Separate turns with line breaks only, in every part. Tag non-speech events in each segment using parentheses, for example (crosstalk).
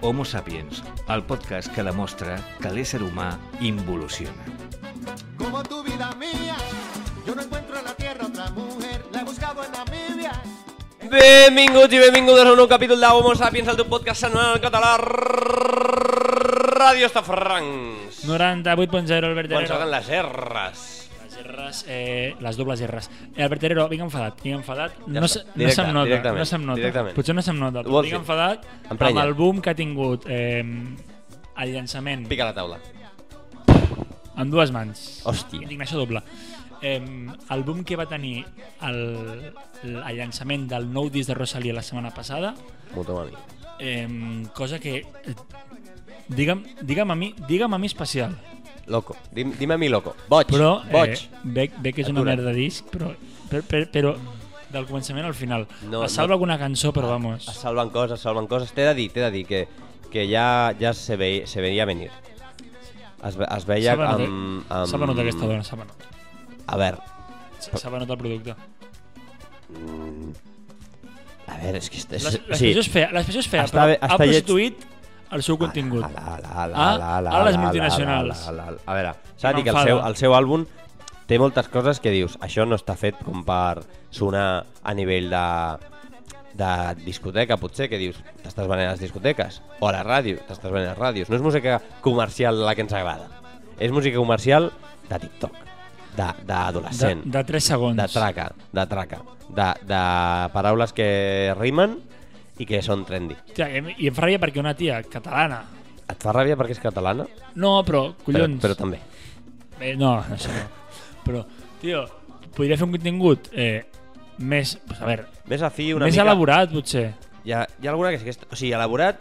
Homo Sapiens, el podcast que demostra que l'ésser humà involuciona.
Como tu vida mía, yo no encuentro en la tierra otra mujer, la he buscado en Namibia.
Benvinguts i benvingudes a un nou capítol de Homo Sapiens, el teu podcast setmanal en català, Ràdio Estafrancs.
98.0 Albert
Quan
Herrero.
salen les R's.
Les erres, eh, les dobles erres. Eh, Albert Herrero, vinc enfadat, vinc enfadat.
Ja
no,
està,
se, no
directe,
se'm nota,
directament,
no se'm nota.
directament.
Potser no se'm nota,
Ho vols
però vinc
dir?
enfadat
Emprenya.
amb el boom que ha tingut eh, el llançament
Pica la taula.
amb dues mans.
Hòstia.
Indignació doble. Eh, el boom que va tenir el, el llançament del nou disc de Rosalia la setmana passada,
Motomami.
eh, cosa que... eh, Digue'm, digue'm, a mi, digue'm a mi especial,
Loco. Dim, dime a mi loco. Boig.
però eh,
Boig.
veig, veig que és una
Atura.
merda de disc, però, per, per, però del començament al final.
No,
No, es salva
no.
no. alguna cançó, però vamos.
Es salven coses, es salven coses. T'he de dir, t'he de dir que, que ja, ja se, ve, se veia venir. Es, ve- es veia
Salva nota,
amb... amb...
salva nota eh? aquesta dona, salva nota.
A veure,
Salva nota el producte.
a veure, és que... Este,
L'expressió és fea, l'expressió és fea,
Està
però
bé,
ha
està lleig.
prostituït el seu contingut.
Ala, ala, ala,
A-
ala, ala,
a les
ala,
multinacionals.
ala, ala, ala. A veure, s'ha de dir que el
M'enfada.
seu, el seu àlbum té moltes coses que dius, això no està fet com per sonar a nivell de, de discoteca, potser, que dius, t'estàs venent a les discoteques, o a la ràdio, t'estàs venent a les ràdios. No és música comercial la que ens agrada, és música comercial de TikTok, de-
De,
d'adolescent
de 3 segons.
de traca, de traca, de, de paraules que rimen i que són trendy.
Hòstia, em- I em fa ràbia perquè una tia catalana...
Et fa ràbia perquè és catalana?
No, però,
Però,
collons...
però també.
Eh, no, no sé, no. Però, tio, podria fer un contingut eh, més... Pues, a veure,
Més afí, una
més
mica...
elaborat, potser.
Hi ha, hi ha alguna que sí que està... O sigui, elaborat...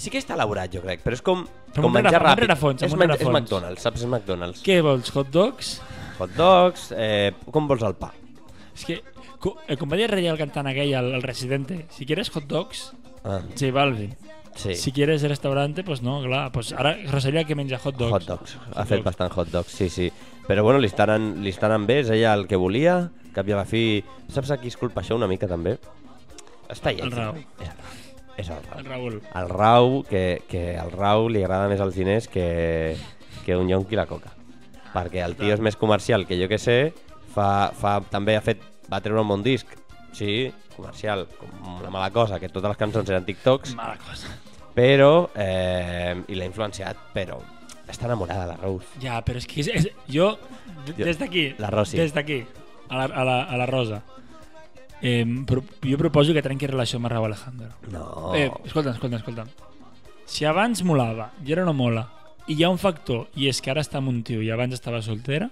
Sí que està elaborat, jo crec, però és com,
Però
com
amb un
menjar
rerefons, amb un
ràpid.
rerefons, amb
és,
un
men- és
rerefons.
McDonald's, saps? És McDonald's.
Què vols, hot dogs?
Hot dogs, eh, com vols el pa?
És que, co- eh, com va dir Reyes el cantant aquell, el, el Residente, si quieres hot dogs,
Ah,
J Balvin.
sí,
Si quieres restaurante, pues no, clar. Pues ara Rosalía que menja hot dogs.
hot dogs. Ha
Hot
fet
dogs.
bastant hot dogs, sí, sí. Però bueno, li estaran, li estaran bé, és ella el que volia, cap i a la fi... Saps a qui es culpa això una mica, també? Està lleig.
El Rau.
És el Rau. És el Rau.
El Raül.
El Rau, que, que al Rau li agrada més els diners que, que un yonqui la coca. Perquè el tio és més comercial que jo que sé, fa, fa, també ha fet, va treure un bon disc, sí, comercial, com una mala cosa, que totes les cançons eren TikToks,
Mala cosa.
però, eh, i l'ha influenciat, però està enamorada de la Rose.
Ja, però és que és, és, jo, d-
Jo-
des d'aquí,
la Rosi.
des d'aquí, a, la, a, la, a la Rosa, eh, pro, jo proposo que trenqui relació amb el Raúl Alejandro.
No.
Eh, escolta'm, escolta'm, escolta'm. Si abans molava i ara no mola, i hi ha un factor, i és que ara està amb un tio i abans estava soltera,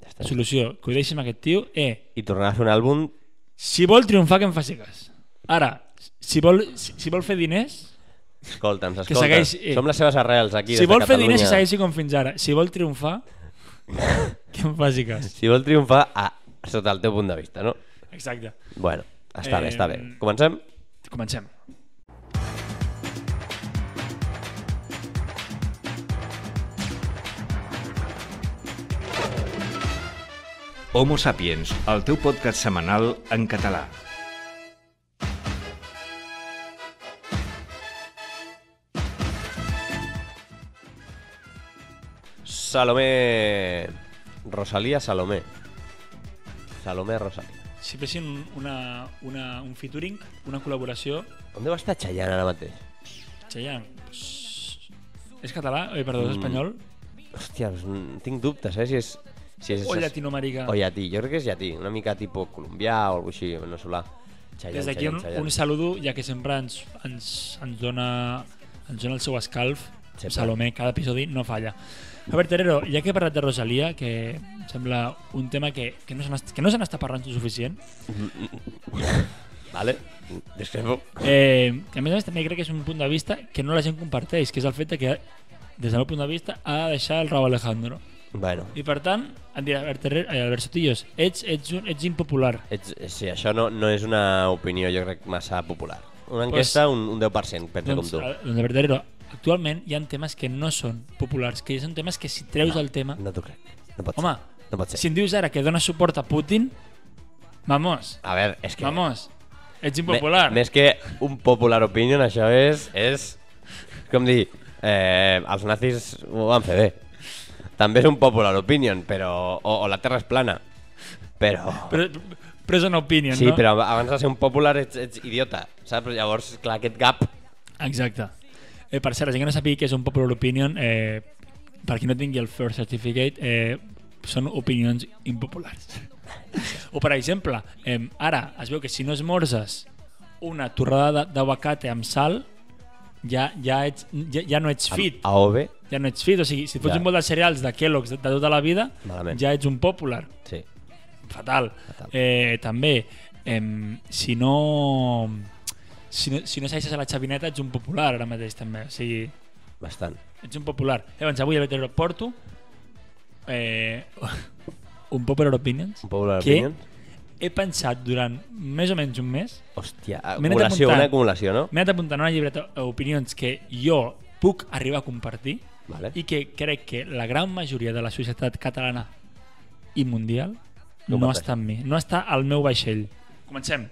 Ja està.
solució, que ho deixi amb aquest tio, eh,
I tornarà a fer un àlbum,
si vol triomfar que em faci cas. Ara, si vol, si, si vol fer diners,
escolta'ns,
Que
escolta,
segueix, eh,
som les seves arrels aquí,
si
des de
vol fer
Catalunya.
diners i segueixi com fins ara, si vol
(laughs)
triomfar, que em faci cas.
Si vol triomfar, a, sota el teu punt de vista, no?
Exacte.
Bueno, està bé,
Eh,
està bé. Comencem?
Comencem.
Homo Sapiens, el teu podcast setmanal en català.
Salomé... Rosalía Salomé. Salomé Rosalía.
Si fessin una, una, un featuring, una col·laboració,
On deu estar Chayanne ara mateix?
Cheyenne, pss, és català? Oi, perdó, és espanyol?
Hòstia, doncs, mm, tinc dubtes, eh? Si és, si és,
O llatinoamericà?
O llatí, jo crec que és llatí. Una mica tipus colombià o alguna així, veneçolà. Chayanne,
Des d'aquí un,
Chayanne, Chayanne.
un saludo, ja que sempre ens, ens, ens, dona, ens dona el seu escalf.
Sempre.
Salomé, cada episodi no falla. A veure, Terero, ja que he parlat de Rosalia, que em sembla un tema que, que no se n'est- que no se n'està parlant suficient,
Vale? Discrepo.
eh, que a més a més també crec que és un punt de vista que no la gent comparteix, que és el fet de que, des del meu punt de vista, ha de deixar el Raúl Alejandro.
Bueno.
I per tant, em dirà, Albert, Herrero, eh, Albert Sotillos, ets, ets, un, ets impopular.
Ets, sí, això no, no és una opinió, jo crec, massa popular. Una
Pues-
enquesta, un, un 10%, pensa
Doncs,
com tu.
eh, doncs Albert Herrero, actualment hi ha temes que no són populars, que són temes que si treus el tema...
No t'ho crec. No pot
Home,
ser. No pot ser.
si em dius ara que dones suport a Putin, vamos,
A veure, és que...
vamos. Ets impopular.
Ah, Me, més que un popular opinion, això és... és com dir, eh, els nazis ho van fer bé. També és un popular opinion, però... O, o la Terra és plana. Però...
Però, però és una opinion,
Sí,
no?
però abans de ser un popular ets, ets idiota, saps? Llavors, clar, aquest gap...
Exacte. Eh, per cert, la gent que no sàpiga què és un popular opinion, eh, per qui no tingui el first certificate, eh, són opinions impopulars. (laughs) o per exemple, eh, ara es veu que si no esmorzes una torrada de- d'aguacate amb sal, ja, ja, ets, ja, ja no ets fit.
A, a OB,
Ja no ets fit, o sigui, si et fots
Ja.
un bol de cereals de Kellogg's de, de tota la vida,
Malament.
ja ets un popular.
sí.
Fatal.
Fatal.
Eh, també, em, si no... Si no, si no segueixes a la xavineta ets un popular ara mateix també, o sigui,
Bastant.
ets un popular. Eh, doncs avui a Vetero porto eh, (laughs) un popular opinions
Un popular
Què?
opinion.
he pensat durant més o menys un mes,
Hòstia,
M'he anat
acumulació,
apuntant.
una acumulació, no?
m'he anat apuntant una llibreta d'opinions que jo puc arribar a compartir
Vale.
i que crec que la gran majoria de la societat catalana i mundial
No
no
pateixis.
està amb mi, no està al meu vaixell. Comencem.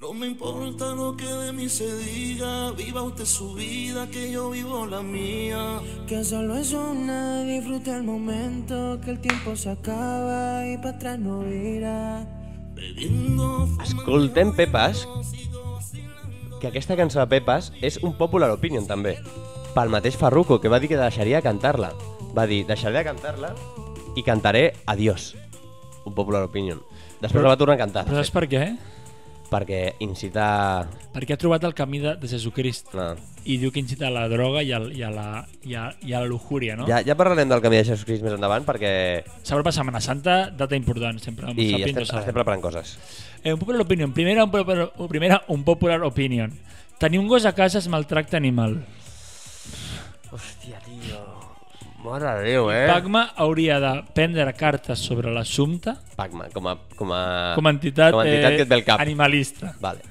No me importa lo que de mí se diga, viva usted su vida, que yo vivo la mía.
Que solo es una, disfruta el momento, que el tiempo se acaba y para atrás no irá.
Bebiendo, fumando,
Escoltem Pepas, que aquesta cançó de Pepas és un popular opinion també, pel mateix Farruko, que va dir que deixaria de cantar-la. Va dir, deixaré de cantar-la i cantaré Adiós, un popular opinion. Després la va tornar a cantar,
Però
de
saps
fet,
per què?
perquè incita...
Perquè ha trobat el camí de, de Jesucrist
No.
i diu que incita a la droga i, al, i, a, la, i, a, i a la luxúria, no?
Ja, ja parlarem del camí de Jesús Crist més endavant, perquè...
S'apropa Setmana Santa, data important, sempre. amb
I
Sapiens
estem,
ho sabem.
estem preparant coses.
Eh, un popular opinion. Primera un popular, primera, un popular opinion. Tenir un gos a casa és maltracte animal.
Hòstia, tio... Mare de Déu, eh?
Eh? Pacma hauria de prendre cartes sobre l'assumpte
Pacma, com a... Com a,
com a entitat,
Ah.
eh,
com a entitat que et ve el cap.
animalista.
Vale.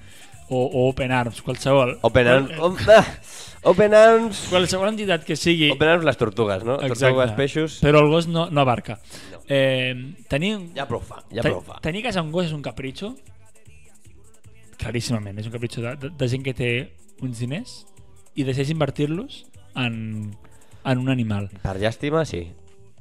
O, o Open Arms, qualsevol. eh,
Open Arms... Om- (laughs) Open Arms...
Qualsevol entitat que sigui...
Open Arms les tortugues, no? Tortugues, peixos...
Però el gos no, no abarca.
No.
Eh, tenir, un-
Ja prou fa, ja
te-
prou fa.
Tenir a casa un gos és un capritxo? Claríssimament, és un capritxo de, de, de gent que té uns diners i decideix invertir-los en, en un animal.
Per llàstima, sí.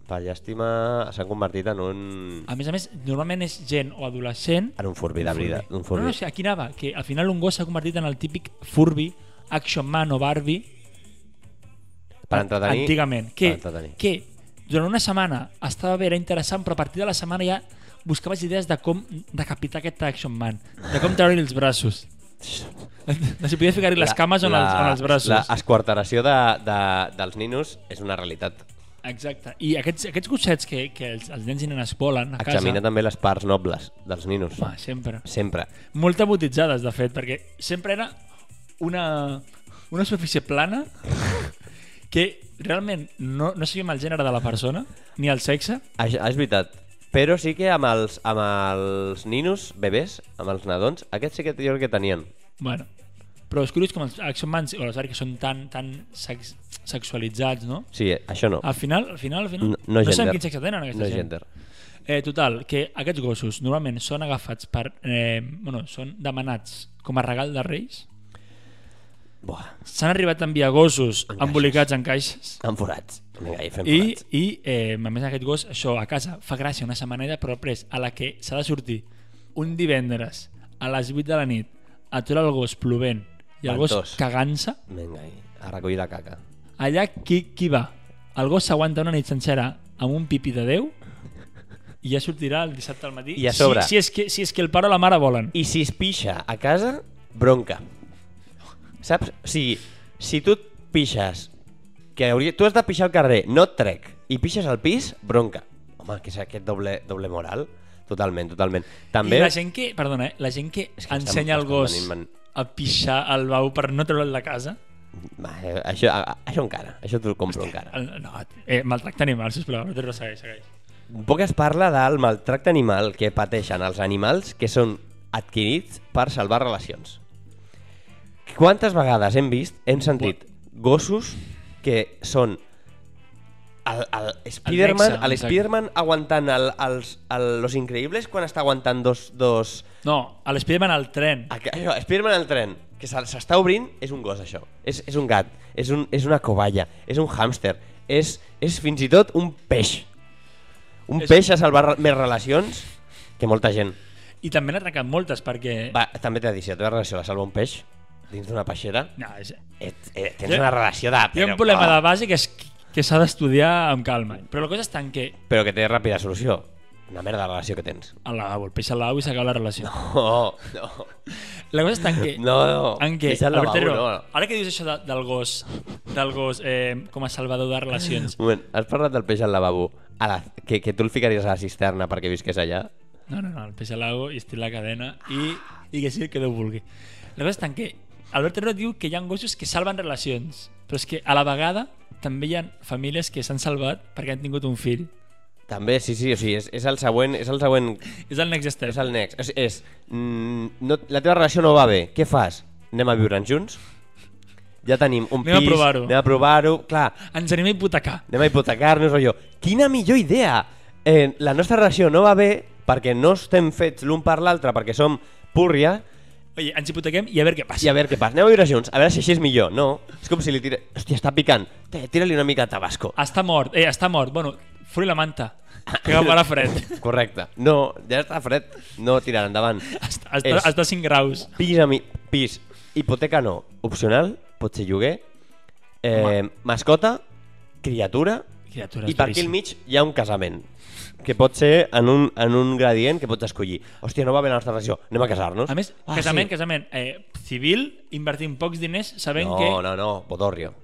Per llàstima s'han convertit en un...
A més a més, normalment és gent o adolescent...
En un furbi, de veritat. Un
No,
furbi.
no, Ah, sí, aquí anava, que al final un gos s'ha convertit en el típic furbi, action man o Barbie
Per entretenir...
antigament. Que,
Per entretenir.
que durant una setmana estava bé, era interessant, però a partir de la setmana ja buscaves idees de com decapitar aquest action man, de com treure-li els braços. No s'hi podia ficar-hi les cames o en els, en els braços.
L'esquarteració de, de, dels ninos és una realitat.
Exacte. I aquests, aquests gossets que, que els, els nens i nenes volen a casa...
Examina també les parts nobles dels ninos.
Home, sempre.
Sempre.
Molt tabotitzades, de fet, perquè sempre era una, una superfície plana que realment no, no sabíem el gènere de la persona ni el sexe.
Això, és veritat. Però sí que amb els, amb els ninos, bebès, amb els nadons, aquests sí que jo crec que tenien.
Bueno, però és curiós com els Action Mans o les Arc que són tan, tan sex sexualitzats, no?
Sí, això no.
Al final, al final, al final...
No, no,
no
gender.
sabem quin sexe tenen aquesta
no
gent.
gender.
Eh, total, que aquests gossos normalment són agafats per... Eh, bueno, són demanats com a regal de reis.
Buah,
S'han arribat a enviar gossos
En caixes.
embolicats en caixes.
amb forats. Vinga, i fem
I,
forats.
i eh, a més aquest gos, això, a casa, fa gràcia una setmaneta, però després, a la que s'ha de sortir un divendres a les 8 de la nit, atura el gos plovent i el
Ventós.
gos cagant-se,
Vinga, i a recollir la caca.
allà qui, qui va? El gos s'aguanta una nit sencera amb un pipi de Déu i ja sortirà el dissabte al matí.
I a sobre.
Si, si, és que, si és que el pare o la mare volen.
I si es pixa a casa, bronca. Saps? O sigui, si tu et pixes, que hauria... tu has de pixar al carrer, no et trec, i pixes al pis, bronca. Home, que és aquest doble, doble moral. Totalment, totalment. També...
I la gent que, perdona, eh, la gent
És
que, que
que estem-
ensenya el
estem
gos
venint- ven-
a pixar al bau per no treure'l de casa.
Va, eh, això, a- a- això encara, això t'ho compro encara.
El- No, eh, maltracta animals, sisplau, no te segueix, segueix.
Poc es parla del maltracte animal que pateixen els animals que són adquirits per salvar relacions. Quantes vegades hem vist, hem sentit gossos que són el, el Spider-Man
exacte.
Spider aguantant el, els, el, los increïbles quan està aguantant dos, dos
No, a l'Spiderman al tren.
Aqu- Això, Spiderman al tren, que se- s'està obrint, és un gos, això. És, és un gat, és, un, és una covalla, és un hàmster, és, és fins i tot un peix. Un
És-
peix a salvar re- més relacions que molta gent.
I també n'ha trencat moltes perquè...
Va, també t'he de dir, si la teva relació la salva un peix dins d'una peixera,
No, és...
et, et, tens
Jo-
una relació de...
Hi ha un problema de base que és que s'ha d'estudiar amb calma. Però la cosa és tant que
Però que té ràpida solució. Una merda de relació que tens. (laughs)
al lavabo, el peix al lavabo i s'acaba la relació.
Oh, no.
La cosa està en que...
No, no,
En que,
és el lavabo,
Albertero,
no.
Ara que dius això de, del gos, del gos eh, com a salvador de relacions...
Un moment, has parlat del peix al lavabo. A la, que, que tu el ficaries a la cisterna perquè visqués allà?
No, no, no, el peix al lago i estic la cadena i, i que sigui el que Déu vulgui. La cosa està en que Albert Herrero diu que hi ha gossos que salven relacions, però és que a la vegada també hi ha famílies que s'han salvat perquè han tingut un fill.
També, sí, sí, o sigui, és, és el següent, és el següent,
És el next step.
és el next. És, és mm, no, la teva relació no va bé, què fas? Anem a viure junts? Ja tenim un
Anem a
pis,
provar-ho.
anem a provar-ho, clar,
Ens anem a hipotecar.
anem a hipotecar-nos, rotllo. Quina millor idea! Eh, la nostra relació no va bé perquè no estem fets l'un per l'altre, perquè som púrria,
Oye, ens hipotequem i a veure què passa.
i a veure què passa. Anem a viure junts, a veure si així és millor. No, és com si li tira... Hòstia, està picant. Té, Tira-li una mica de tabasco.
Està mort, eh, està mort. Bueno, fui la manta, que agafarà
(laughs)
fred.
Correcte. No, ja està fred. No tirar endavant.
Està, està,
És-
està a 5 graus.
Pis, a mi... pis, hipoteca no, opcional, pot ser lloguer, eh, mascota, criatura,
Criatura,
i
és
per aquí al
duríssim.
mig hi ha un casament que pot ser en un, en un gradient que pots escollir. Hòstia, no va bé la nostra relació, anem a casar-nos.
A més,
Ah,
casament,
sí.
casament eh, civil, invertint pocs diners sabent
No,
que...
no, no, bodorrio.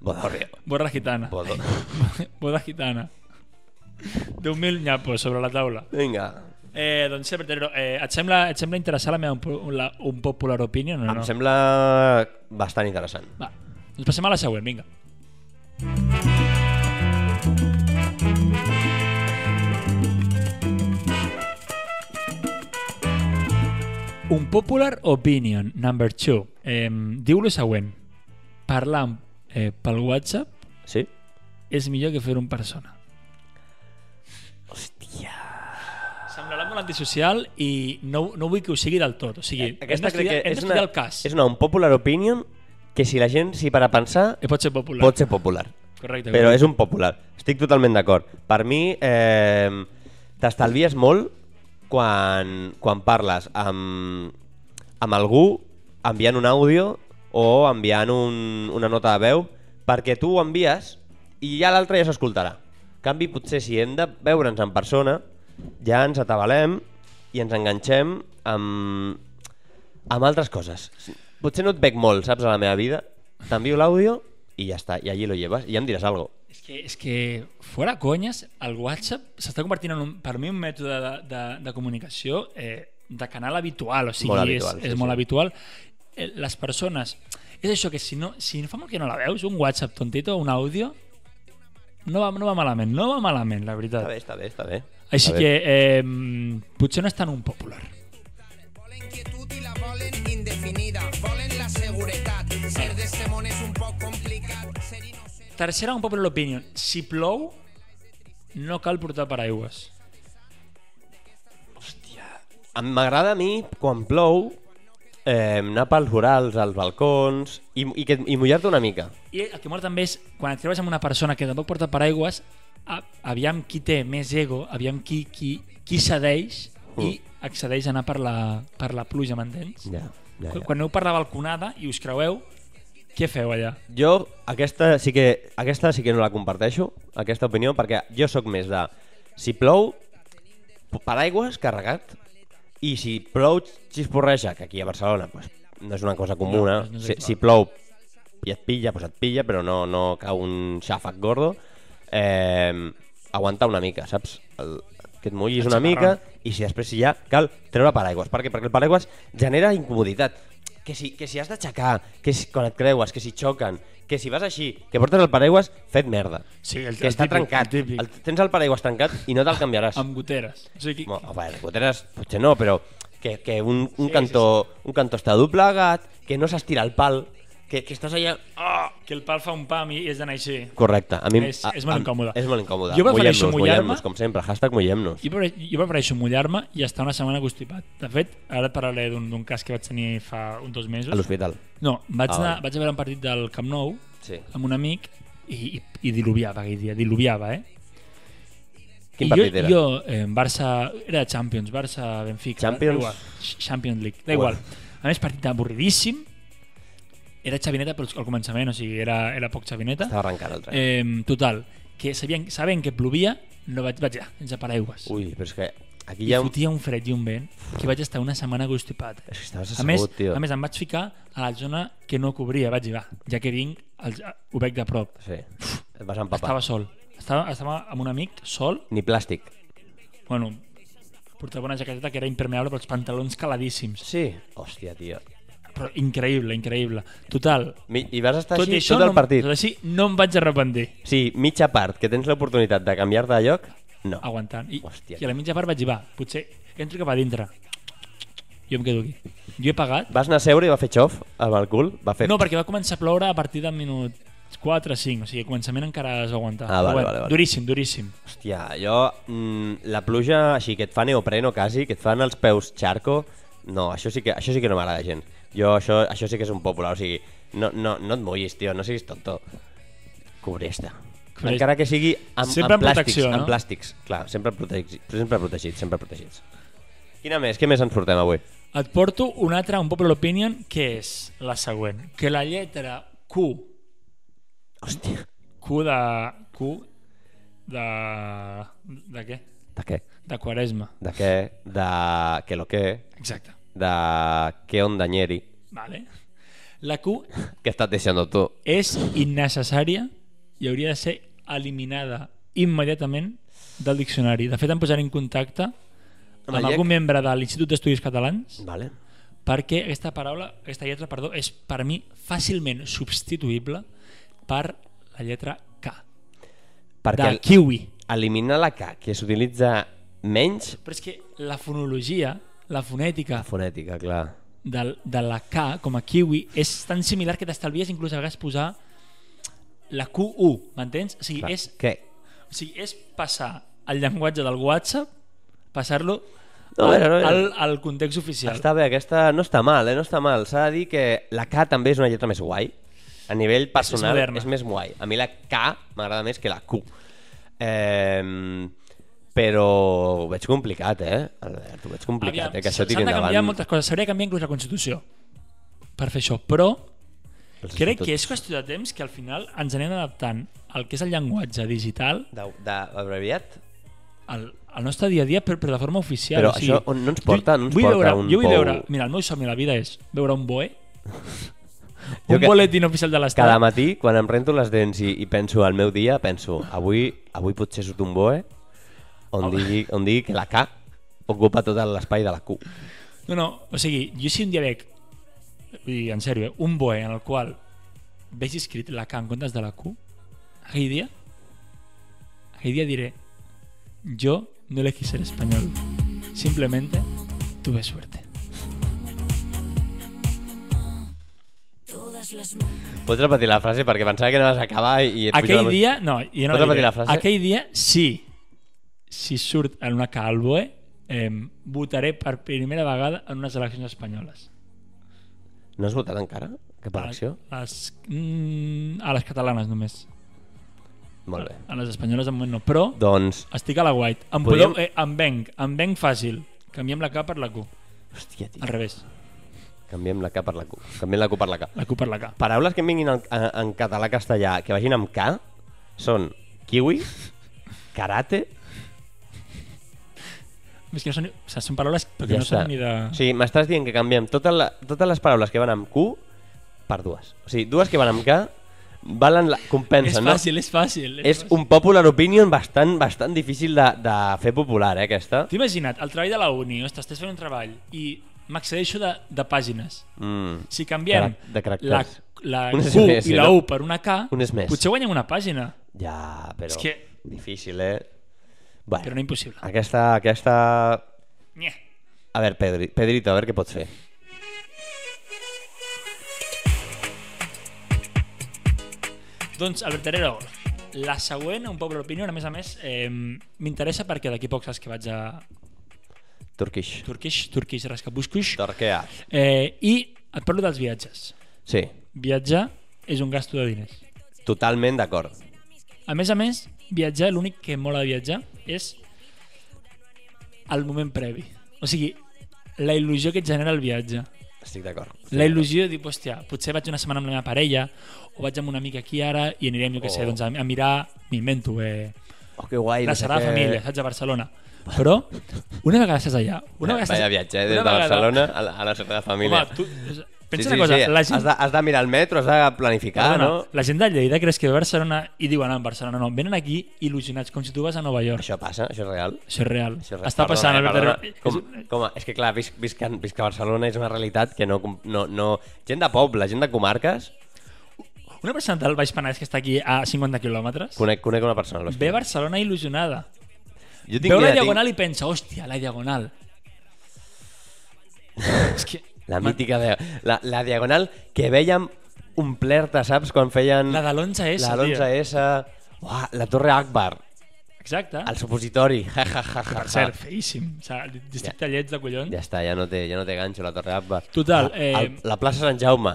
Bodorrio.
Borra gitana.
Bodo...
(laughs) Boda gitana. 10.000 nyapos sobre la taula.
Vinga.
Eh, doncs sí, Bertero, eh, et, sembla, et sembla interessar la meva un, po- la, un popular opinion o no?
Em sembla bastant interessant.
Va, doncs passem a la següent, vinga. Un popular opinion, number two. Eh, diu lo següent. Parlar amb- eh, pel WhatsApp
Sí?
és millor que fer un persona.
Hòstia.
Semblarà molt antisocial i no, no vull que ho sigui del tot. O sigui, hem
Eh, Aquesta crec
d'estudiar
que
hem
és
d'estudiar
una,
el cas.
és una un popular opinion que si la gent s'hi para a pensar
Eh, pot ser popular.
pot ser popular.
Correcte.
Però
correcte.
és un popular. Estic totalment d'acord. Per mi, eh, t'estalvies molt quan, quan parles amb, amb algú enviant un àudio o enviant un, una nota de veu perquè tu ho envies i ja l'altre ja s'escoltarà. En canvi, potser si hem de veure'ns en persona, ja ens atabalem i ens enganxem amb, amb altres coses. Potser no et veig molt, saps, a la meva vida. T'envio l'àudio i ja està, i allí lo lleves, i ja em diràs algo.
És que, és que fora conyes, el WhatsApp s'està convertint en, un, per mi, un mètode de, de, de comunicació eh, de canal habitual, o sigui,
Molt habitual,
és,
sí,
és
sí.
molt habitual. Eh, Les persones... És això que si no, si fa molt que no la veus, un WhatsApp tontito, un àudio, no va, no va malament, no va malament, la veritat.
Està bé, està bé, està bé.
Així
Està
que
bé.
eh, potser no és tan un popular.
Volen quietud i la volen indefinida. Volen la seguretat. Ser de este món és un poc complicat. Ser innocent...
Tercera, un popular opinion. Si plou, no cal portar paraigües.
Em- M'agrada a mi, quan plou, eh, anar pels vorals, als balcons, i, i, que- i mullar-te una mica.
I el que mola també és, quan et trobes amb una persona que tampoc porta paraigües, a, aviam qui té més ego, aviam qui, qui, qui cedeix i accedeix a anar per la, per la pluja, m'entens?
Mm. Ja, ja,
Quan-
ja.
Quan aneu per la balconada i us creueu, què feu allà?
Jo aquesta sí que aquesta sí que no la comparteixo, aquesta opinió, perquè jo sóc més de si plou paraigües carregat i si plou xisporreja, que aquí a Barcelona pues, no és una cosa comuna,
No, no és
si,
habitual.
si plou i et pilla, pues et pilla, però no, no cau un xàfec gordo, eh, aguantar una mica, saps? El, que et mullis una mica i si després hi ha, cal treure paraigües. Per què? Perquè el paraigües genera incomoditat. Que si, que si has d'aixecar, que si, quan et creues, que si xoquen, que si vas així, que portes el paraigües, fet merda.
Sí, el-
que
el
està
típic,
trencat.
el típic.
tens el paraigües trencat i no te'l canviaràs.
Amb goteres. O sigui,
Bueno,
qui,
a veure, goteres potser no, però que, que un, un, cantó, un cantó està doblegat, que no s'estira el pal, que, que estàs allà...
Ah, que el pal fa un pam i és d'anar així.
Correcte, a mi...
És-
a-
és
a-
molt incòmode.
És molt incòmode.
Jo prefereixo
Mullem-nos,
mullar-me.
mullem-nos, com sempre, hashtag mullem-nos.
Jo, pre- jo prefereixo mullar-me i estar una setmana constipat. De fet, ara et parlaré d'un d'un cas que vaig tenir fa uns dos mesos.
A l'hospital.
No, vaig,
Ah,
anar,
vale.
vaig a veure un partit del Camp Nou
Sí.
amb un amic i, i, i diluviava aquell dia, diluviava, eh?
Quin
I
partit
jo,
era?
Jo, eh, Barça, era Champions, Barça, Benfica.
Champions?
da Igual, Ch- Champions League, da
Uah.
igual. A més, partit avorridíssim. Era xavineta però al començament, o sigui, era, era poc xavineta.
Estava arrencant el tren.
Eh, total, que sabien, sabent que plovia, no vaig, vaig allà, sense paraigües.
Ui, però és que aquí
I
hi ha... un-
fotia un fred i un vent que vaig estar una setmana constipat.
És que estaves
a més,
assegut, tio.
a més, em vaig ficar a la zona que no cobria. Vaig dir, va, ja que vinc, el, ho veig de prop.
Sí. Et vas empapar.
Estava sol. Estava, estava amb un amic, sol.
Ni plàstic.
Bueno, portava una jaqueteta que era impermeable, però els pantalons caladíssims.
Sí. Hòstia, tio.
Però increïble, increïble. Total,
Mi- I vas estar
tot i
així
això,
tot el
no, em-
partit.
tot i així, no em vaig arrepentir.
Sí, mitja part, que tens l'oportunitat de canviar-te de lloc, no.
aguantant. I,
Hòstia.
I a la mitja part vaig dir, va, potser entro cap a dintre. Jo em quedo aquí. Jo he pagat.
Vas anar a seure i va fer xof amb el cul? Va fer...
No, perquè va començar a ploure a partir del minut 4 o 5, o sigui, començament encara es va aguantar.
Ah, vale,
Però bueno,
vale, vale.
Duríssim, duríssim.
Hòstia, jo... Mm, la pluja així, que et fa neopreno quasi, que et fan els peus charco, no, això sí que, això sí que no m'agrada gent. Jo, això, això sí que és un popular, o sigui, no, no, no et mullis, tio, no siguis tonto. Cobreix-te.
Cobreix-
Encara que sigui amb, amb
Sempre amb
plàstics,
protecció, no?
amb plàstics, clar, sempre, protegi, sempre protegits, sempre protegits. Quina més? Què més ens portem avui?
Et porto una altra, un popular opinion, que és la següent. Que la lletra Q,
Hòstia,
Q de... Q de... de què?
de què?
De quaresma.
De què? De que lo que?
Exacte.
De que ondañeri?
Vale. La Q
¿Qué estás diciendo tú?
és innecessària i hauria de ser eliminada immediatament del diccionari. De fet, em posaré en contacte amb
la
algun
llec-
membre de l'Institut d'Estudis Catalans
Vale.
perquè aquesta paraula, aquesta lletra, perdó, és per mi fàcilment substituïble per la lletra K,
Perquè
de
el-
kiwi.
eliminar la K, que s'utilitza menys
Però és que la fonologia, la fonètica
fonètica, clar.
de, de la K com a kiwi és tan similar que t'estalvies inclús a vegades posar la QU, m'entens? O sigui,
clar.
és
Què?
O sigui, és passar el llenguatge del WhatsApp, passar-lo
No,
al,
no, no, no.
al, al context oficial.
Està bé, aquesta no està mal, eh? no està mal. S'ha de dir que la K també és una lletra més guai. A nivell personal és,
moderna.
més guai. A mi la K m'agrada més que la Q. Eh, però ho veig complicat, eh? Albert, ho veig complicat, eh? Que això tiri
s'han de canviar
endavant.
moltes coses. S'hauria de canviar inclús la Constitució per fer això, però
Els
crec que
estatuts
és qüestió de temps que al final ens anem adaptant al que és el llenguatge digital
De, de abreviat?
al, al nostre dia a dia, però, però de forma oficial.
Però
o sigui,
això on- no ens porta- no ens
vull
porta
veure,
un
jo vull
pou-
veure, mira, el meu somni a la vida és veure un BOE,
(laughs) Jo
un
que-
boletín oficial de l'Estat.
Cada matí, quan em rento les dents i, i penso al meu dia, penso, avui, avui potser surt un boe on, digui, on digui que la K ocupa tot l'espai de la Q.
No, no, o sigui, jo si un dia veig, vull dir, en sèrio, eh, un boe en el qual veig escrit la K en comptes de la Q, aquell dia, aquell dia diré, jo no elegí ser espanyol, simplemente tuve suerte.
Pots repetir la frase perquè pensava que anaves a acabar i et pujava
Aquell
la-
dia, no, jo no
Pots
la
repetir
diré.
la frase?
Aquell dia, sí, si surt en una K al boe, eh, votaré per primera vegada en unes eleccions espanyoles.
No has votat encara? Cap elecció?
A les, mm, a les catalanes només.
Molt bé.
A les espanyoles de moment no, però...
Doncs,
Estic a la white. Em,
Podríem-
podeu, eh, em venc, em venc fàcil. Canviem la K per la Q.
hòstia, tio,
Al revés,
canviem la K per la Q. Canviem la Q per la K.
la Q per la K.
Paraules que em vinguin en, en, en català-castellà que vagin amb K són kiwi, karate,
És que no són, ni- o sigui, són paraules perquè
ja
no
està.
són ni de...
O sigui, m'estàs dient que canviem tota la, totes les paraules que van amb Q per dues. O sigui, dues que van amb K valen la,
és
compensen,
fàcil, és fàcil.
no? És un popular opinion bastant, bastant difícil de, de fer popular, eh, aquesta.
T'he imaginat, el treball de la uni, ostres, estàs fent un treball i m'accedeixo de, de pàgines.
Mm.
Si canviem
Carac- de caràcters.
la, la
Un
Q
SMS,
i la
no?
U per una K,
Un és més.
potser guanyem una pàgina,
Ja, però...
És que-
Difícil, eh? Bueno,
però no impossible.
aquesta, aquesta...
Nye.
A veure, Pedri, Pedrito, a veure què pots fer.
Doncs, Albert Herrero, la següent, un poble opinió, a més a més, eh, m'interessa perquè d'aquí poc saps que vaig a
Turkish.
Turkish, Turkish Rascabuscush,
Torquea.
eh, i et parlo dels viatges.
Sí,
Viatjar és un gasto de diners.
totalment d'acord.
A més a més, viatjar, l'únic que mola de viatjar és el moment previ. O sigui, la il·lusió que et genera el viatge.
Estic d'acord.
La il·lusió de dir, hòstia, potser vaig una setmana amb la meva parella o vaig amb una amiga aquí ara i anirem, jo què sé,
Oh.
doncs a, a mirar, m'invento, eh,
Oh, que guai.
la
no sé
Sagrada
què.
Família, saps, a Barcelona. Però una vegada estàs allà... Una vegada
Vaya
estàs...
viatge, eh,
una
des de
vegada-
Barcelona a la, a la Sagrada Família.
Home, tu... Pensa una cosa, la gent...
Has, de, has de mirar el metro, has de planificar,
Perdona,
no?
la gent de Lleida creus que ve a Barcelona i diuen, ah, en Barcelona no, venen aquí il·lusionats, com si tu vas a Nova York.
Això passa, això és real.
Això és real.
Això és real.
Està passant,
Perdona, eh,
Albert.
perdona. Com, com, a- és que clar, visc, visc, en- visc a Barcelona és una realitat que no, com- no, no... Gent de poble, gent de comarques,
Una persona del Baix Penedès que està aquí a 50 quilòmetres
conec, conec una persona. al
ve
Baix
a Barcelona il·lusionada.
Penedès. Jo
Veu la
idea,
Diagonal i pensa, hòstia, la Diagonal. És que...
La mítica de... La, la diagonal que vèiem omplerta, saps? Quan feien...
La de l'11S,
La
tio.
11S... Uah, la Torre Akbar,
Exacte.
el supositori. Ja, ja, ja, ja,
Per cert, feíssim. O sigui, districte lleig de collons.
Ja està, ja no té, ja no té ganxo la Torre Akbar.
Total,
La, el-
eh,
la plaça Sant Jaume.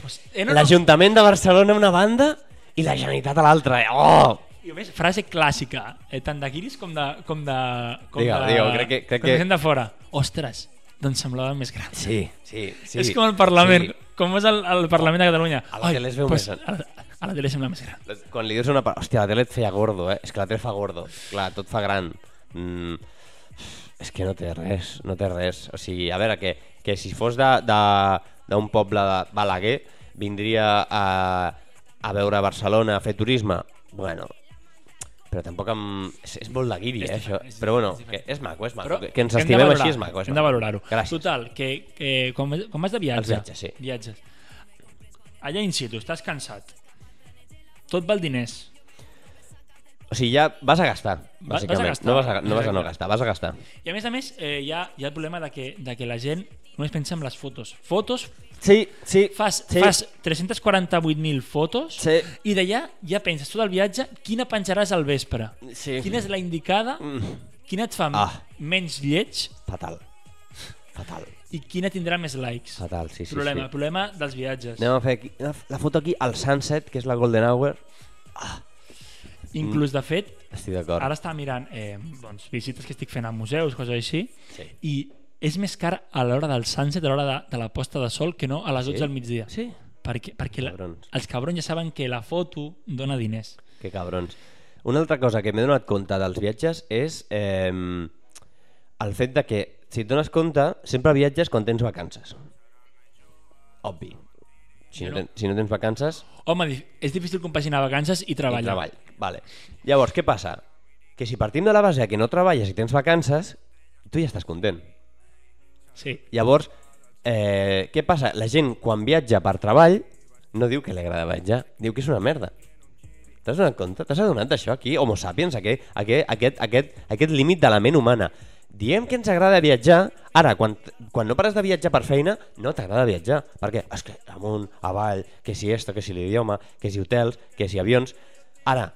Pues, eh, no, no.
L'Ajuntament de Barcelona a una banda i la Generalitat a l'altra. Oh!
I a més, frase clàssica, eh, tant de guiris com de... Com de com
Digue-ho,
de,
digue-ho, crec que- crec
com de
que-
gent de fora. Ostres, doncs semblava més gran.
Sí, sí, sí.
és com el Parlament.
Sí.
Com és el, el Parlament de Catalunya.
A la tele es veu més gran.
A la, a la tele sembla més gran.
Quan li dius a una persona... Hòstia, la tele et feia gordo, eh? És que la tele fa gordo. Clar, tot fa gran. Mm, és que no té res, no té res. O sigui, a veure, que, que si fos de- de- d'un poble de Balaguer, vindria a, a veure Barcelona, a fer turisme. Bueno, però tampoc amb... És, és molt de guiri, eh, això.
diferent, és
Però bueno,
diferent,
que és maco, és maco.
Però
que, que ens
hem de
estimem
valorar,
així és maco. És
Hem de
maco.
valorar-ho.
Gràcies.
Total, que, que com, com vas de viatge...
Els viatges, sí.
Viatges. Allà in situ, estàs cansat. Tot val diners.
O sigui, ja vas a gastar,
vas a
bàsicament.
gastar.
No vas a, no vas a no
Exacte.
gastar, vas a gastar.
I a més a més, eh, hi, ha, hi ha el problema de que, de que la gent només pensa en les fotos. Fotos,
Sí, sí.
fas,
sí.
fas 348.000 fotos
Sí.
i d'allà ja penses tot el viatge quina penjaràs al vespre,
Sí. Mm.
quina és la indicada, quina et fa
Ah.
menys lleig
Fatal. Fatal.
i quina tindrà més likes.
Fatal, sí, sí.
problema,
sí.
problema dels viatges.
Anem a fer aquí, la, la foto aquí al sunset, que és la golden hour.
Inclús, de fet,
Estic d'acord.
ara estava mirant eh, doncs, visites que estic fent a museus, coses així,
Sí.
i és més car a l'hora del sunset, a l'hora de, de la posta de sol, que no a les 12
Sí?
del migdia.
Sí.
Perquè, perquè la,
Cabrons.
els cabrons ja saben que la foto dona diners.
Que cabrons. Una altra cosa que m'he donat compte dels viatges és eh, el fet de que, si et dones compte, sempre viatges quan tens vacances. Obvi. Si no, ten, si no tens vacances,
Home, di- és difícil compaginar vacances i treball.
I treball. Vale. Llavors, què passa? Que si partim de la base que no treballes i tens vacances, tu ja estàs content.
Sí.
Llavors, eh, què passa? La gent, quan viatja per treball, no diu que li agrada viatjar, diu que és una merda. T'has donat compte? T'has adonat d'això aquí? Homo sapiens, aquest, aquest, aquest, aquest, aquest límit de la ment humana. Diem que ens agrada viatjar, ara, quan, quan no pares de viatjar per feina, no t'agrada viatjar, perquè, és que amunt, avall, que si esto, que si l'idioma, que si hotels, que si avions... Ara,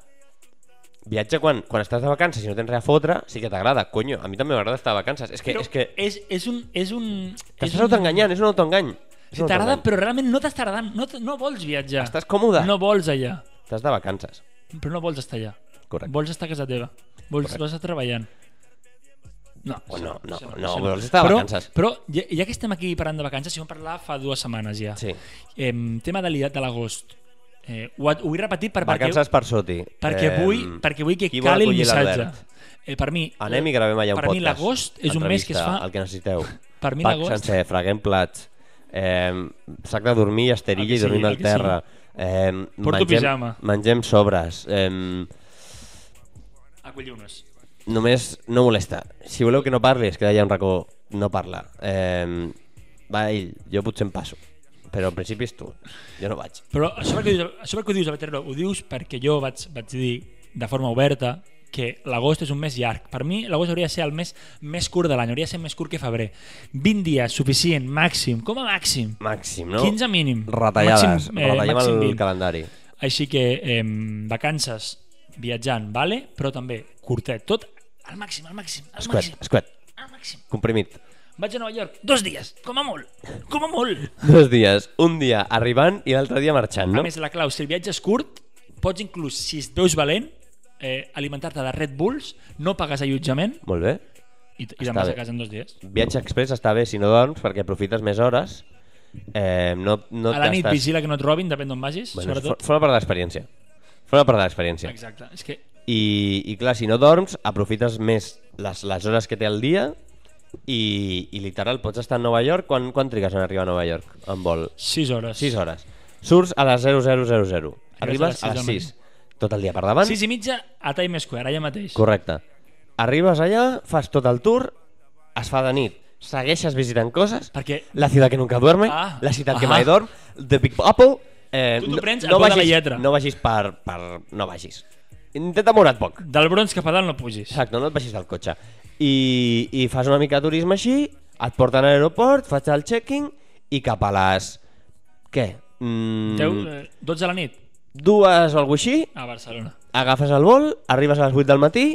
viatja quan, quan estàs de vacances i no tens res a fotre, sí que t'agrada, conyo, a mi també m'agrada estar de vacances, és que...
Però
és que...
és, és un... És un és
T'estàs
un-
autoenganyant, és un autoengany. És
Sí,
un
T'agrada,
autoengany.
però realment no t'està agradant. No, t- no vols viatjar.
Estàs còmode.
No vols allà,
Estàs de vacances.
però no vols estar allà.
Correcte.
Vols estar a casa teva. Vols, vols estar treballant. No,
O no, no,
això
no,
això
vols estar de
però,
vacances.
Però ja, ja que estem aquí parlant de vacances, si vam parlar fa dues setmanes ja.
Sí.
Eh, tema de l'idat de l'agost. Eh, ho, ho vull repetir per,
Vacances per soti.
perquè, perquè, vull,
Em,
perquè vull que
qui vol
cali el
acollir
missatge.
l'Albert?
Eh, per mi,
Anem i gravem allà un
per
podcast.
mi l'agost és un mes que es
Entrevista,
fa-
El que necessiteu.
Per mi
Pac
l'agost-
sencer, freguem plats, eh, sac de dormir i
El Ah, que
esterilla i
sigui,
dormim
el
al
que
terra. Eh,
Porto
mengem,
pijama.
Mengem sobres. Eh,
acollir-nos.
només no molesta. Si voleu que no parli, es queda allà un racó, no parla. Eh, va, ell, jo potser em passo. Però al principi és tu, jo no vaig.
Però això per què ho dius, això per què ho dius a Veterano? Ho dius perquè jo vaig, vaig dir de forma oberta que l'agost és un mes llarg. Per mi, l'agost hauria de ser el mes més curt de l'any, hauria de ser més curt que febrer. 20 dies, suficient, màxim, com a màxim.
Màxim, no?
15 mínim.
Retallades.
Màxim, eh,
Retallem
màxim
el
20.
calendari.
Així que eh, vacances, viatjant, vale? però també curtet, tot al màxim, al màxim, al
Escuet,
màxim,
escuet.
al màxim.
Comprimit.
Vaig a Nova York, dos dies, com a molt, com a molt.
Dos dies. Un dia arribant i l'altre dia marxant,
No?
no?
A més, la clau, si el viatge és curt, pots inclús, si et veus valent, eh, alimentar-te de Red Bulls, no pagues allotjament
Molt bé.
i, i demà
bé.
a casa en dos dies.
Viatge express està bé si no dorms perquè aprofites més hores. Eh, no, no
a la nit
gastes-
vigila que no et robin, depèn d'on vagis,
Bueno,
bueno,
for-
sobretot.
Forma part de l'experiència. Forma part de l'experiència.
Exacte, és que
I, I clar, si no dorms, aprofites més les, les hores que té el dia i, i literal, pots estar a Nova York. Quan, quan trigues en arribar a Nova York en vol?
6 hores.
6 hores. Surts a les 0000. Arribes
Arribes
a
a les
les
sis del
6. Tot el dia per davant.
6 i mitja a Times Square, allà mateix.
Correcte. Arribes allà, fas tot el tour, es fa de nit, segueixes visitant coses,
Perquè-
la ciutat que nunca duerme,
Ah,
la ciutat que
ah.
mai dorm, The Big Apple... Eh,
Tu t'ho prens al
no, no
peu de la
vagis,
lletra.
No vagis per, per... No vagis. Intenta moure't poc.
Del Bronx cap a dalt no pugis.
Exacte, no et baixis del cotxe. I, I fas una mica de turisme així, et porten a l'aeroport, fas el checking i cap a les... Què? Mm,
Teu, eh, 12 de la nit
Dues o alguna així,
a Barcelona.
agafes el vol, arribes a les 8 del matí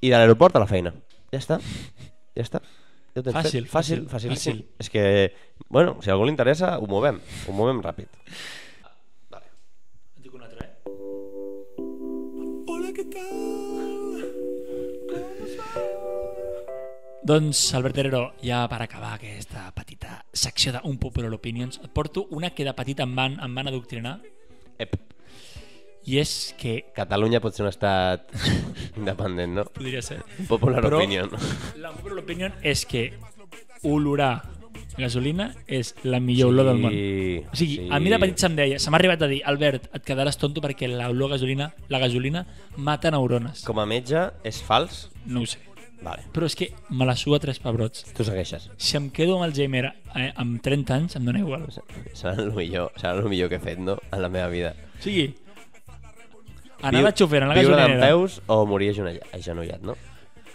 i de l'aeroport a la feina. Ja està. Ja està. Ja ho tens
Fàcil,
fet. fàcil,
fàcil,
fàcil,
fàcil.
sí. És que, bueno, si a algú li interessa, ho movem. Ho movem ràpid.
Et dic un altre, eh?
Hola, ¿qué tal?
Doncs, Albert Herrero, ja per acabar aquesta petita secció d'Un Popular Opinions, et porto una que de petit em van, em van adoctrinar
Ep,
i és que
Catalunya pot ser un estat (laughs) independent, no?
podria ser.
Popular
Però-
opinion.
La popular opinion és que olorar gasolina és la millor olor del món. O sigui, sí. a mi de petit se'm deia, se m'ha arribat a dir, Albert, et quedaràs tonto perquè l'olor a gasolina, la gasolina mata neurones. Com?
Com a metge, és fals?
No ho sé.
Vale.
Però és que me la suga tres pebrots.
Tu segueixes.
Si em quedo amb el Jamer eh, amb 30 anys, em dóna igual. O
Serà el millor, serà el millor que he fet, no? En la meva vida.
sigui, anar a la
Viu-
xofera, anar a la
Viure d'en
gasolinera,
peus o morir agenolla- agenollat, no?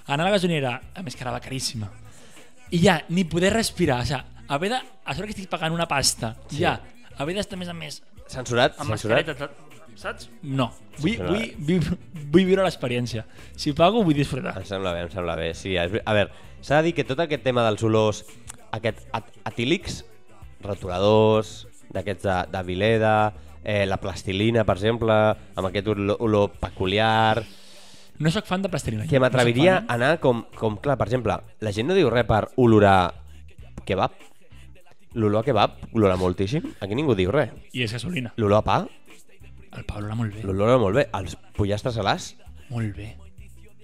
anar a la gasolinera, a més que anava caríssima, i ja, ni poder respirar, o sigui, haver de, a sobre que estic pagant una pasta,
Sí.
ja, haver d'estar més a més
Censurat?
amb
censurat?
mascareta, tot, saps? No, vull,
Censurat.
vull, vull, vull viure l'experiència. Si pago, vull disfrutar.
Em sembla bé, em sembla bé. Sí, és ver- a veure, s'ha de dir que tot aquest tema dels olors, aquest at atílics, rotuladors, d'aquests de, de Vileda, eh, la plastilina, per exemple, amb aquest olor, olor peculiar,
No sóc fan de plastilina.
que
jo.
m'atreviria
No eh? sóc
a anar com, com, clar, per exemple, la gent no diu res per olorar kebab. L'olor a kebab olora moltíssim. Aquí ningú diu res.
fan, eh? I és gasolina.
L'olor a pa,
El Pablo era molt bé.
l'olora molt bé. Els pollastres salats,
Molt bé.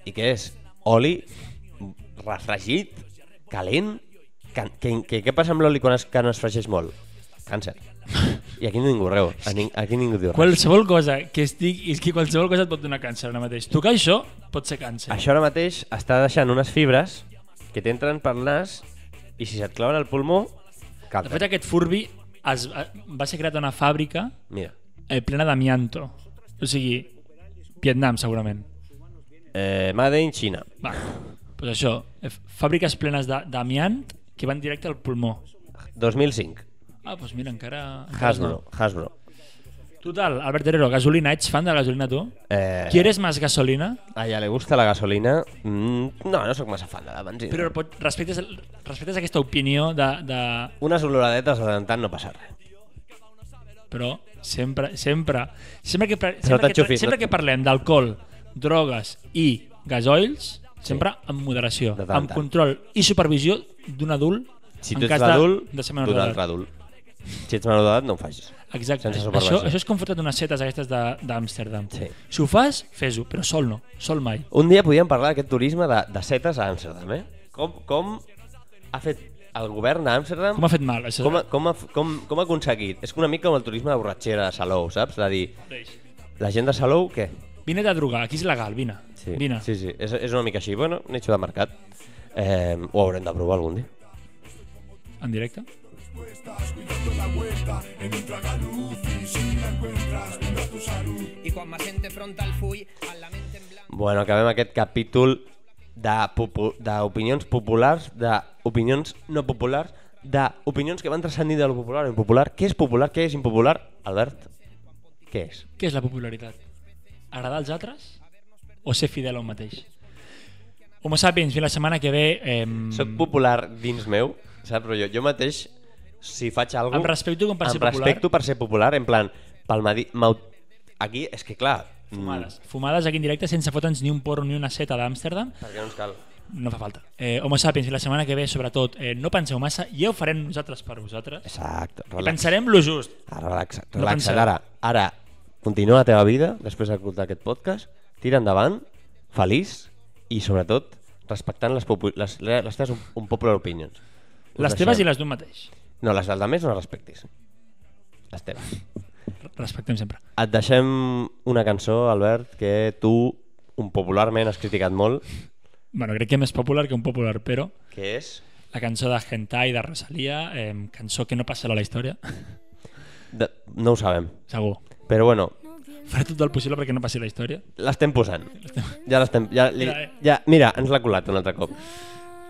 I què és? Oli refregit, calent? Que, que, que, què passa amb l'oli quan es, que no es fregeix molt? Càncer. I aquí ningú reu. A ning, aquí ningú diu res.
Qualsevol cosa que estic... És que qualsevol cosa et pot donar càncer ara mateix. Tocar això pot ser càncer.
Això ara mateix està deixant unes fibres que t'entren per nas i si se't claven al pulmó,
De fet,
càncer.
aquest furbi es, eh, va ser creat a una fàbrica
Mira.
eh, plena d'amianto. O sigui, Vietnam, segurament.
Eh, Made in China.
Va, doncs això. eh, Fàbriques plenes de- d'amiant que van directe al pulmó.
2005.
Ah, doncs mira, encara... encara
Hasbro. Hasbro.
no. Total, Albert Herrero, gasolina. Ets fan de la gasolina, tu?
Eh,
¿Quieres más gasolina?
A ella li gusta la gasolina. Mm, no, no sóc massa fan de la benzina.
Però pot, respectes, respectes aquesta opinió de, de...
Unes oloradetes de tant en tant no passa res.
Però sempre, sempre... Sempre que, pre-
Però
sempre, que,
t'enxufis,
sempre
no?
que parlem d'alcohol, drogues i gasoils, sempre amb moderació,
De tant en
amb
tant.
control i supervisió d'un adult
Si
en
tu ets
cas de-
l'adult,
de ser menor
d'un altre
d'edat.
adult. Si ets menor d'edat, no ho facis.
Exacte.
sense
Això,
supervisió.
això és com fotre't unes setes aquestes de- d'Amsterdam.
Sí.
Si ho fas, fes-ho, però sol no, sol mai.
Un dia podíem parlar d'aquest turisme de, de setes a Amsterdam, eh? Com, com ha fet el govern d'Amsterdam...
Com ha fet mal, això?
Com, ha- com, ha, com, com ha aconseguit? És una mica com el turisme de borratxera de Salou, saps? De dir, la gent de Salou, què?
Vine de drogar, aquí és legal, vine. Vine.
sí, sí. És, és una mica així. Bueno, nicho de mercat. Eh, ho haurem de provar algun dia.
En directe.
Y cuando más gente frontal fui, a la mente en blanco.
Bueno, acabem aquest capítol de popu- d'opinions populars, d'opinions no populars, d'opinions que van transcendir de lo popular a impopular. Què és popular, què és impopular? Albert, què és?
Què és la popularitat? Agradar als altres o ser fidel a un mateix? Homo sapiens, fins la setmana que ve... Ehm...
Soc popular dins meu, saps? Però jo, jo mateix, si faig alguna
Em respecto com per ser
em
popular.
respecto per ser popular, en plan, pel medi... m'au- Aquí, és que clar... mm,
Fumades. Fumades aquí en directe sense fotre'ns ni un porro ni una seta d'Amsterdam.
Perquè no ens cal.
No fa falta. Eh, Homo sapiens, i la setmana que ve, sobretot, eh, no penseu massa, ja ho farem nosaltres per vosaltres.
Exacte,
I
relax.
pensarem lo just.
Ah, relaxa,
No
relaxa't
penseu.
ara. Ara, continua la teva vida, després d'escoltar aquest podcast, tira endavant, feliç i sobretot respectant les, popu- les, les teves un, un popular opinions. Us
Les teves i les d'un mateix.
No, les dels altres no les respectis. Les teves.
Respectem sempre.
Et deixem una cançó, Albert, que tu un popularment has criticat molt,
Bueno, crec que és més popular que un popular, però
que és...
la cançó de Hentai de Rosalia, eh, cançó que no passarà a la història, (laughs)
De... No ho sabem.
segur.
Però bueno,
Faré tot el possible perquè no passi a la història.
l'estem posant. Ja l'estem... Ja, li...
Mira, eh.
ja, mira, ens l'ha colat un altre cop.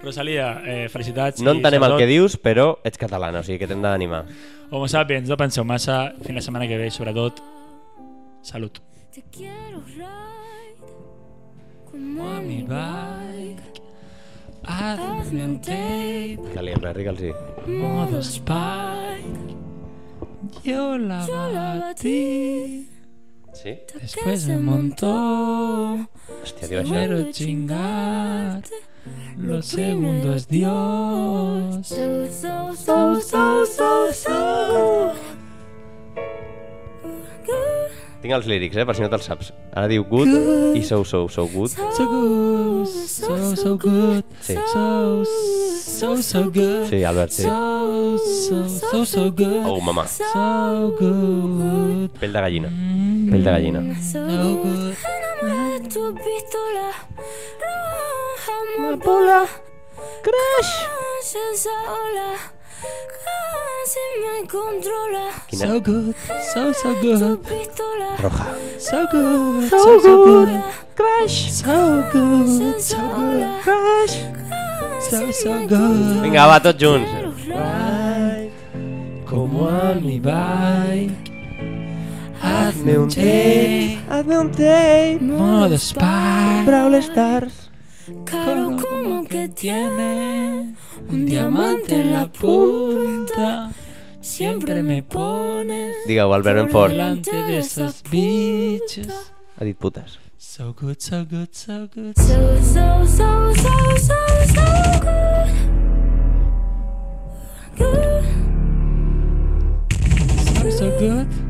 Rosalia, eh, felicitats.
No
i
entenem el
sobretot,
que dius, però ets catalana, o sigui que t'hem d'animar.
Homo sapiens, no penseu massa. Fins la setmana que ve, sobretot, salut.
Te quiero ride como a mi bike. Hazme un tape,
Que li enrere que els hi...
modo spike.
Yo la
Yo la batí,
Sí?
después se montó.
Hòstia, diu això.
Quiero chingarte, lo segundo es Dios. So, so, so, so, so, so.
Tinc els lírics, eh, per si no te'ls saps. Ara diu good, i so, so, so good.
So, so, so good.
Sí.
So, so, so good.
Sí, Albert, sí.
So, so, so, so good.
Oh, mamà.
So good.
Pell de gallina. Pell de gallina.
So good. Enamorada de tu pistola. Roja amapola. Crash. Esa ola. Casi me controla.
Quina...
good. So, so good.
Roja.
So good. So, so good. Crash. So good. So good. Crash. So, so good.
Vinga, va, tots junts.
Como a mi bike. Hazme un take.
Hazme un take,
Modo spike.
Brawl Stars.
Caro como que tiene un diamante en la punta. Siempre me pones
Digue-ho, Albert Benfort.
delante de esos bichos.
Ha dit putes.
So good, so good, so good. So, so, so, so, so, so good. Good. So, so good.